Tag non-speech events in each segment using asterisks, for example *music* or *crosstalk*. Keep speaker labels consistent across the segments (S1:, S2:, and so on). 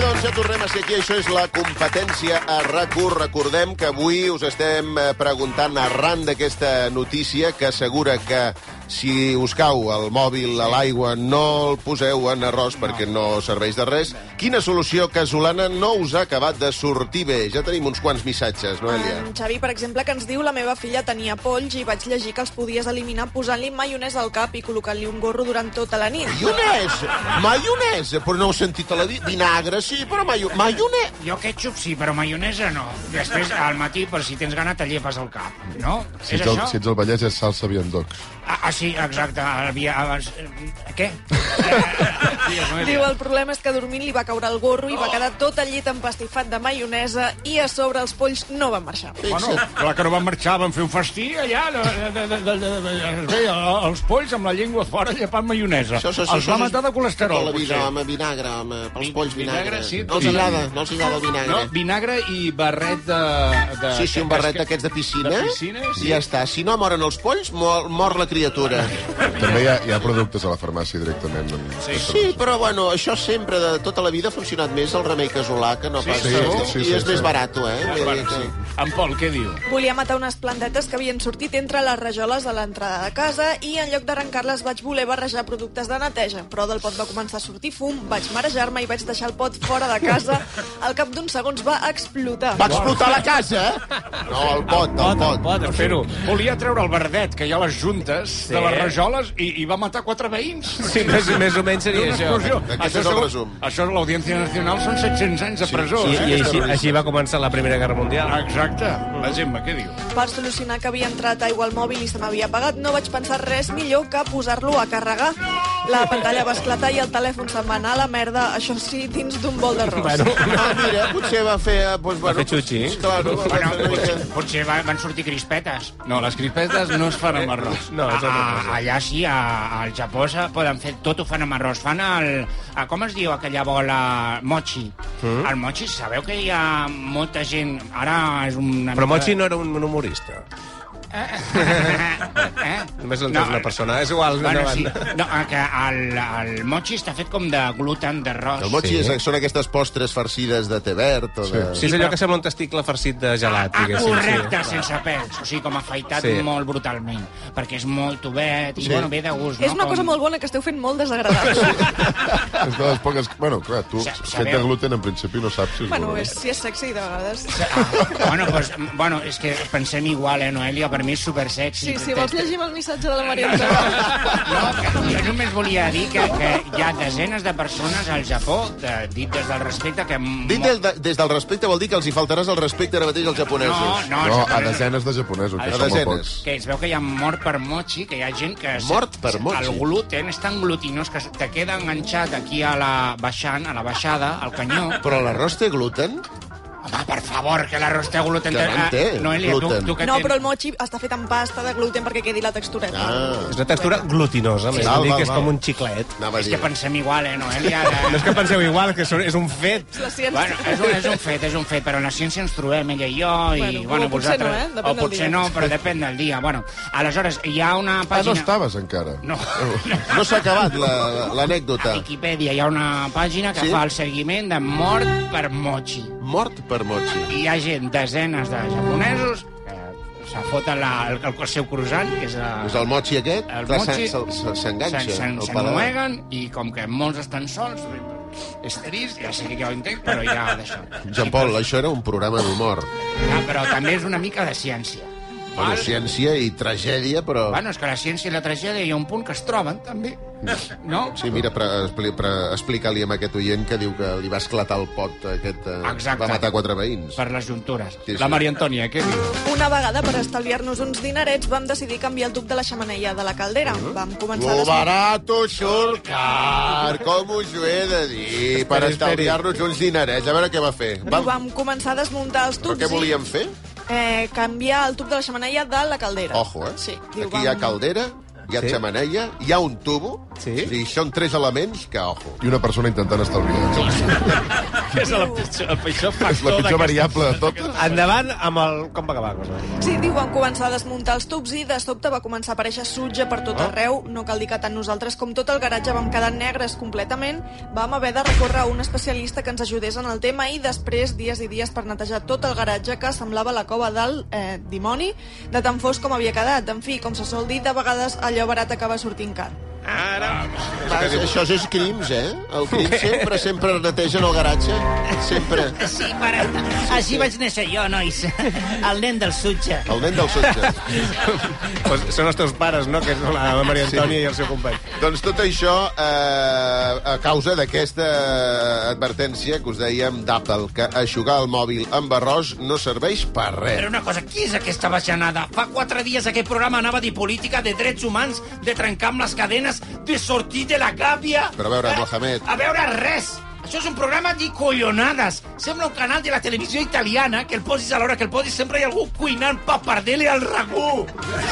S1: doncs, tornem a ser aquí. Això és la competència a rac Recordem que avui us estem eh, preguntant arran d'aquesta notícia que assegura que si us cau el mòbil a l'aigua no el poseu en arròs perquè no serveix de res. Quina solució casolana no us ha acabat de sortir bé? Ja tenim uns quants missatges, Noelia.
S2: En Xavi, per exemple, que ens diu la meva filla tenia polls i vaig llegir que els podies eliminar posant-li maionesa al cap i colocant-li un gorro durant tota la nit.
S1: Maionesa! Maionesa! Però no ho he sentit a la di... Vinagre, sí, però maio... maionesa...
S3: Jo ketchup sí, però maionesa no. Després, al matí, per si tens gana, te llepes el cap, no?
S4: Si
S3: és
S4: ets, el,
S3: això?
S4: si ets el Vallès és salsa viandoc.
S3: ah, ah, sí, exacte. Havia... abans- eh, Què? Digues, Noelia.
S2: *laughs* Diu, el problema és que dormint li va caure el gorro i va quedar tot el llit empastifat de maionesa i a sobre els polls no van marxar.
S3: Bueno, clar que no van marxar, van fer un festí allà, de, de, de, de, de, de, es veia els polls amb la llengua fora llepant maionesa.
S1: Això, això, això,
S3: els va
S1: això és-
S3: matar de
S1: Tota
S3: colesterol,
S1: la vida,
S3: potser.
S1: home, vinagre, home, pels
S5: Vi-
S1: polls vinagre.
S5: vinagre, sí,
S1: no els
S5: sí.
S1: agrada, no els agrada el
S5: No,
S1: vinagre.
S5: vinagre i barret de... de
S1: Sí, sí, un barret d'aquests de piscina.
S5: De piscina, sí.
S1: I ja està. Si no moren els polls, mor, mor la criatura.
S4: També hi ha, hi ha productes a la farmàcia directament. Sí,
S1: Sí, però bueno, això sempre, de tota la vida, ha funcionat més el remei casolà que no pas...
S4: sí,
S1: segur.
S4: sí, sí,
S1: I és
S4: sí,
S1: més
S4: sí.
S1: barat, eh? Vull dir
S5: Bueno,
S1: que-
S5: sí. En Pol, què diu?
S2: Volia matar unes plantetes que havien sortit entre les rajoles de l'entrada de casa i en lloc d'arrencar-les vaig voler barrejar productes de neteja, però del pot va començar a sortir fum, vaig marejar-me i vaig deixar el pot fora de casa. Al cap d'uns segons va explotar.
S1: Va explotar la casa, eh? No, el pot, el pot.
S5: pot,
S3: Però volia treure el verdet que hi ha a les juntes sí. de les rajoles i, i va matar quatre veïns.
S5: Sí, més, més o menys seria
S3: Una
S5: això.
S3: explosió.
S1: Aquest és el
S3: segur-
S1: resum.
S3: Això és l'Audiència Nacional, són 700 anys de presó.
S5: I, i
S3: eh?
S5: així, així va començar la Primera Guerra Mundial.
S3: Exacte. La Gemma, què diu?
S2: Per solucionar que havia entrat aigua al mòbil i se m'havia apagat, no vaig pensar res millor que posar-lo a carregar. La pantalla va esclatar i el telèfon se'n va anar a la merda, això sí, dins d'un bol d'arròs.
S5: Bueno,
S1: Ah, mira, potser va fer... eh, Doncs, bueno,
S5: fer xutxi.
S1: potser- Claro, va fer
S3: Bueno,
S1: una mica...
S3: potser, potser va- van sortir crispetes. No, les crispetes no es fan amb arròs.
S5: No, això no
S3: Ah,
S5: passa.
S3: allà sí, a, al Japó se poden fer tot, ho fan amb arròs. Fan el... A, com es diu aquella bola? Mochi. Mm? El mochi, sabeu que hi ha molta gent... Ara és una...
S5: *laughs* però Mochi no era un humorista.
S3: *laughs* eh?
S5: Només l'entén no, una persona. És igual,
S3: Bueno,
S5: endavant.
S3: sí. No, eh, que el, el mochi està fet com de gluten d'arròs.
S1: El mochi és, són aquestes postres farcides de té verd o de...
S5: Sí, és allò que sembla un testicle farcit de gelat,
S3: Ah,
S5: diguéssim.
S3: correcte, sí, sense pèls. O sigui, com afaitat
S5: Sí.
S3: sí. molt brutalment. Perquè és molt obert i
S1: Sí.
S3: sí. bueno, ve de gust.
S2: És
S3: no?
S2: una cosa
S3: Com-
S2: molt bona que esteu fent molt desagradable.
S4: És de les poques... Bueno, clar, tu,
S3: Sa-
S4: fet
S3: sabeu-
S4: de gluten, en principi no saps si és
S2: Bueno,
S4: bo eh? o no.
S2: és, si és sexy, de vegades.
S3: Ah, bueno, pues, bueno, és que pensem igual, eh, Noelia? Per mi és supersexy.
S2: Sí, si vols llegir el missatge de la Marieta.
S3: No, que jo només volia dir que, que hi ha desenes de persones al Japó, de, dit des del respecte, que...
S1: Dit
S3: mo-
S1: des, de, des del respecte vol dir que els hi faltaràs el respecte ara mateix als
S3: No,
S1: japonesos.
S3: no,
S4: No, a
S3: exactament.
S4: desenes de japonesos, que
S1: A
S4: són molt
S1: desenes.
S4: pocs.
S3: que es veu que hi ha mort per mochi, que hi ha gent que...
S1: Mort per mochi.
S3: El gluten és tan glutinós que te queda enganxat aquí a la baixant, a la baixada, al canyó.
S1: Però l'arròs té gluten?
S3: Home, per favor, que l'arròs té gluten.
S1: Que no en té,
S3: Ah, Noelia, tu,
S1: gluten.
S3: tu que
S2: No,
S3: tens...
S2: però el mochi està fet amb pasta de gluten perquè quedi la textureta.
S1: Ah,
S5: És una textura glutinosa, més.
S1: Val,
S5: Vull dir
S1: val,
S5: que és
S1: val.
S5: com un xiclet.
S1: anava a
S3: És
S1: dir.
S3: que pensem igual,
S2: *laughs*
S3: eh, Noelia?
S5: No és que penseu igual, que són- és un fet.
S2: És la ciència.
S3: Bueno, eh. és un, és un fet, és un fet, però en la ciència ens trobem, ella i jo, i
S2: Bueno,
S3: bueno,
S2: o potser no,
S3: vosaltres...
S2: eh? Depèn
S3: o
S2: del dia.
S3: potser no, però depèn del dia. Bueno, aleshores, hi ha una
S4: Ah, no
S3: pàgina...
S4: estaves encara.
S3: No.
S1: No s'ha acabat la-
S3: A
S1: l'anècdota.
S3: Viquipèdia hi ha una pàgina que
S1: Sí?
S3: sí? fa el seguiment de mort per mochi.
S1: Mort per mochi.
S3: I hi ha gent, desenes de japonesos, que se foten la, el, el, seu croissant, que és, la,
S1: És el mochi aquest?
S3: El
S1: clar,
S3: mochi-
S1: s'en- s'en- S'enganxa. al paladar.
S3: S'ennueguen i com que molts estan sols, és trist, ja sé que ja ho entenc, però ja d'això.
S1: Jean Paul, això era un programa d'humor.
S3: Ah, però també és una mica de ciència.
S1: Bueno, ciència i tragèdia, però...
S3: Bueno, és que la ciència i la tragèdia hi ha un punt que es troben, també. No?
S1: Sí, mira, pre, expli, pre, explica-li a aquest oient que diu que li va esclatar el pot aquest... Eh,
S3: Exacte.
S1: Va matar quatre veïns.
S3: Per les juntures.
S1: Sí, sí.
S3: La Maria Antònia, què diu?
S2: Una vegada, per estalviar-nos uns dinerets, vam decidir canviar el tub de la xamaneia de la caldera. Vam començar
S1: Lo
S2: a desmuntar...
S1: barato surt car, com us ho he de dir, per estalviar-nos uns dinerets. A veure què va fer.
S2: Ho
S1: Va,
S2: vam començar a desmuntar els
S1: però
S2: tubs
S1: què volíem fer?
S2: i eh, canviar el tub de la xamaneia de la caldera.
S1: Ojo, eh?
S2: Sí, diu,
S1: Aquí hi ha
S2: vam-
S1: caldera, hi ha
S5: Sí.
S1: xamaneia, hi ha un tubo,
S5: Sí.
S1: i són tres elements que, ojo.
S4: I una persona intentant estalviar.
S5: que *laughs* és el pitjor, el pitjor factor
S4: És tota la pitjor
S5: d'aquesta-
S4: variable de tot.
S5: Endavant amb el... Com va acabar la cosa?
S2: Sí, diu, van començar a desmuntar els tubs i de sobte va començar a aparèixer sutge per tot
S1: Ah.
S2: arreu. No cal dir que tant nosaltres com tot el garatge vam quedar negres completament. Vam haver de recórrer a un especialista que ens ajudés en el tema i després dies i dies per netejar tot el garatge que semblava la cova del eh, dimoni, de tan fos com havia quedat. En fi, com se sol dir, de vegades allò barat acaba sortint car.
S1: Va, això és crims, eh? El crim sempre, sempre netegen el garatge. Sempre.
S6: Sí, pare. Així vaig néixer jo, nois. El nen del sutge.
S1: El nen del sotge.
S5: Pues són els teus pares, no? Que són la Maria Antònia sí. i el seu company.
S1: Doncs tot això eh, a causa d'aquesta advertència que us dèiem d'Apple, que aixugar el mòbil amb arròs no serveix per
S6: Però
S1: res.
S6: una cosa, qui és aquesta bajanada? Fa quatre dies aquest programa anava de política, de drets humans, de trencar amb les cadenes, de sortir de la gàbia...
S1: Però a veure,
S6: Ara,
S1: Mohamed.
S6: A veure, res! Això és un programa de collonades. Sembla un canal de la televisió italiana que el posis a l'hora que el posis sempre hi ha algú cuinant papardele al ragú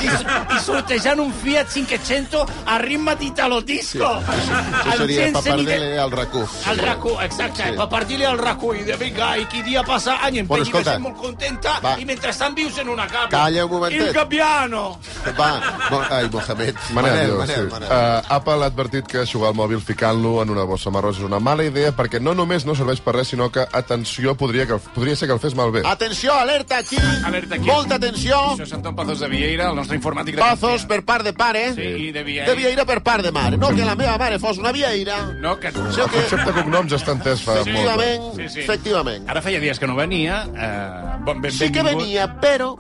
S6: i, i sortejant un Fiat 500 a ritme d'Italodisco.
S1: Això
S6: Amb
S1: seria
S6: gent
S1: papardele
S6: semide-
S1: al racó.
S6: al racó, exacte.
S1: Sí.
S6: Sí. Per partir-li al racó i de vinga, i qui dia passa any em
S1: Bueno,
S6: penyi que
S1: escolta.
S6: estic molt contenta
S1: Va.
S6: i mentrestant vius en una capa.
S1: Calla un momentet.
S6: Il gabbiano.
S1: Va, mo ai, Mohamed.
S4: Manel,
S1: Manel, Manel,
S4: sí.
S1: Manel.
S4: Uh, Apple ha advertit que jugar al mòbil ficant-lo en una bossa marró és una mala idea perquè no només no serveix per res, sinó que, atenció, podria, que, podria ser que el fes malbé.
S1: Atenció, alerta aquí.
S3: Alerta aquí.
S1: Molta atenció.
S3: Això és Anton Pazos de Vieira, el nostre informàtic de
S1: Pazos per part de pare.
S3: Sí, i de Vieira.
S1: De Vieira per part de mare. No que la meva mare fos una Vieira.
S3: No, que...
S1: Això
S4: El
S1: que...
S4: concepte cognoms està entès fa molt.
S1: Efectivament,
S3: Sí, sí.
S1: efectivament.
S3: Ara feia dies que no venia. Eh, bon, ben,
S1: Sí que
S3: benvingut.
S1: venia, però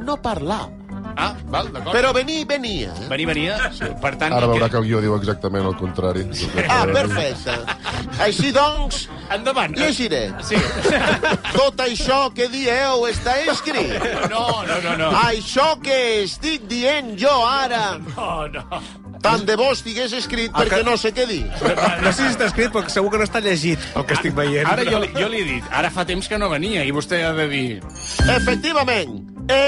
S1: no parlar.
S3: Ah, val, d'acord.
S1: Però venir, venia. Eh?
S3: Venir, venia. Sí. Per tant,
S4: Ara veurà
S3: que...
S4: que el guió diu exactament el contrari. *laughs*
S1: Ah, perfecte. Així doncs,
S3: Endavant.
S1: llegiré.
S3: Sí. *laughs*
S1: Tot això que dieu està escrit.
S3: No, no, no, no.
S1: Això que estic dient jo ara,
S3: No, no.
S1: tant de bo estigués escrit perquè no sé què dir.
S5: No sé si està escrit, però segur que no està llegit el que estic veient.
S3: Ara jo, li- jo li he dit, ara fa temps que no venia, i vostè ha de dir...
S1: Efectivament, he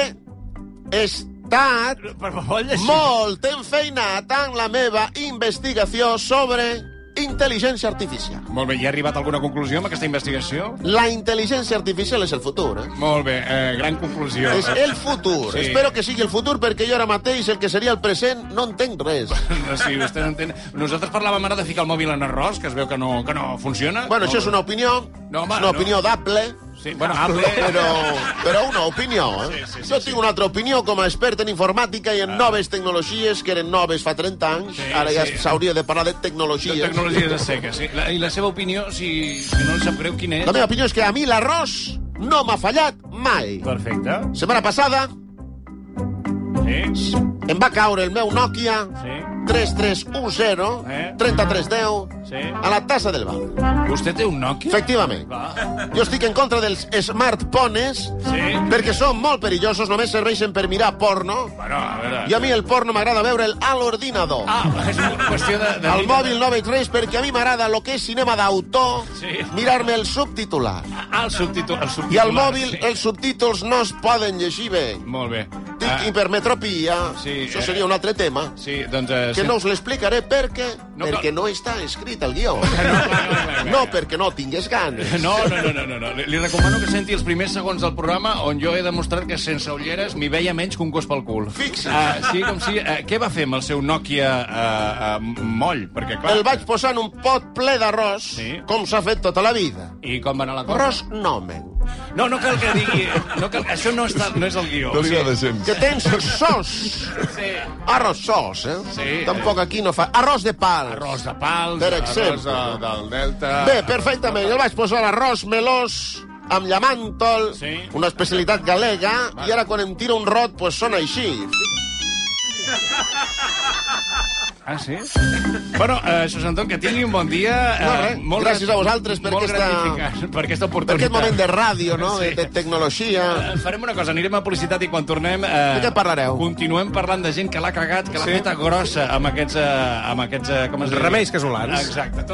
S1: estat
S3: Per favor, llegir.
S1: molt enfeinat en la meva investigació sobre intel·ligència artificial.
S3: Molt bé, hi ha arribat alguna conclusió amb aquesta investigació?
S1: La intel·ligència artificial és el futur, eh?
S3: Molt bé, eh, gran conclusió.
S1: És el futur.
S3: Sí.
S1: Espero que sigui el futur perquè jo ara mateix el que seria el present no entenc res.
S3: No, Eh, sí, vostè no entén. Nosaltres parlàvem ara de ficar el mòbil en arròs, que es veu que no, que no funciona.
S1: Bueno, això és una opinió,
S3: No, home,
S1: és una
S3: no.
S1: opinió d'Apple,
S3: Sí, bueno, hable...
S1: *laughs* però, però una opinió, eh?
S3: Sí, sí, sí,
S1: jo tinc una altra opinió com a expert en informàtica i en noves tecnologies, que eren noves fa 30 anys,
S3: Sí,
S1: ara ja
S3: sí.
S1: s'hauria de parlar de
S3: De
S1: tecnologies.
S3: tecnologies a seques, sí. La, I la seva opinió, si, si no el sap greu, quina és?
S1: La meva opinió és que a mi l'arròs no m'ha fallat mai.
S3: Perfecte.
S1: Setmana passada
S3: Sí,
S1: em va caure el meu Nokia
S3: sí.
S1: 3310
S3: Eh?
S1: 3310
S3: Sí.
S1: a la tassa del bar.
S3: Vostè té un Nokia?
S1: Efectivament.
S3: Va.
S1: Jo estic en contra dels smartphones
S3: Sí.
S1: perquè són molt perillosos, només serveixen per mirar porno.
S3: Bueno, a veure...
S1: I a mi el porno m'agrada veure'l a l'ordinador.
S3: Ah, és una qüestió de... de
S1: Al mòbil no veig res perquè a mi m'agrada lo que és cinema d'autor,
S3: Sí.
S1: mirar-me el subtitular.
S3: Ah, el subtítol. El subtitular,
S1: I al mòbil
S3: sí.
S1: els subtítols no es poden llegir bé.
S3: Molt bé.
S1: Tinc hipermetropia,
S3: Ah. Sí,
S1: això
S3: eh.
S1: seria un altre tema,
S3: sí, doncs... Eh,
S1: que
S3: sí.
S1: no us l'explicaré perquè
S3: No,
S1: perquè
S3: clar.
S1: no està escrit al
S3: *laughs*
S1: guió.
S3: clar, clar, clar.
S1: No perquè no tingués ganes.
S3: No, no, no, no, no, no. Li, li recomano que senti els primers segons del programa on jo he demostrat que sense ulleres m'hi veia menys que un gos pel cul.
S1: Fixi's.
S3: Ah, sí, com si... Uh, què va fer amb el seu Nokia uh, uh, moll? Perquè, clar...
S1: El vaig posar en un pot ple d'arròs,
S3: Sí.
S1: com s'ha fet tota la vida.
S3: I com va anar la cosa?
S1: Arròs nomen.
S3: No, no cal que digui... No cal... Això no, està, no és el guió.
S4: No li agrada gens.
S1: Que
S3: *laughs*
S1: tens sos.
S3: Sí.
S1: Arròs sos, eh?
S3: Sí.
S1: Tampoc aquí no fa... Arròs de pal.
S3: Arròs de pals,
S1: Per
S3: arròs
S1: exemple.
S3: de, del delta...
S1: Bé, perfectament. El vaig posar arròs melós amb llamàntol,
S3: Sí.
S1: una especialitat galega, i ara quan em tira un rot, pues sona així.
S3: Ah, sí? Bueno, eh, Sos Anton, que tingui un bon dia. Eh,
S1: No, res. Gràcies a vosaltres per
S3: molt
S1: aquesta-
S3: gratificant, per aquesta
S1: Per
S3: oportunitat.
S1: aquest moment de ràdio, no?,
S3: Sí.
S1: de, de tecnologia...
S3: Eh, Farem una cosa, anirem a publicitat i quan tornem... Eh,
S1: De què parlareu?
S3: Continuem parlant de gent que l'ha cagat, que l'ha sí. feta grossa amb aquests... Eh, amb aquests eh, com es diu?
S5: Remeis casolans.
S3: Exacte.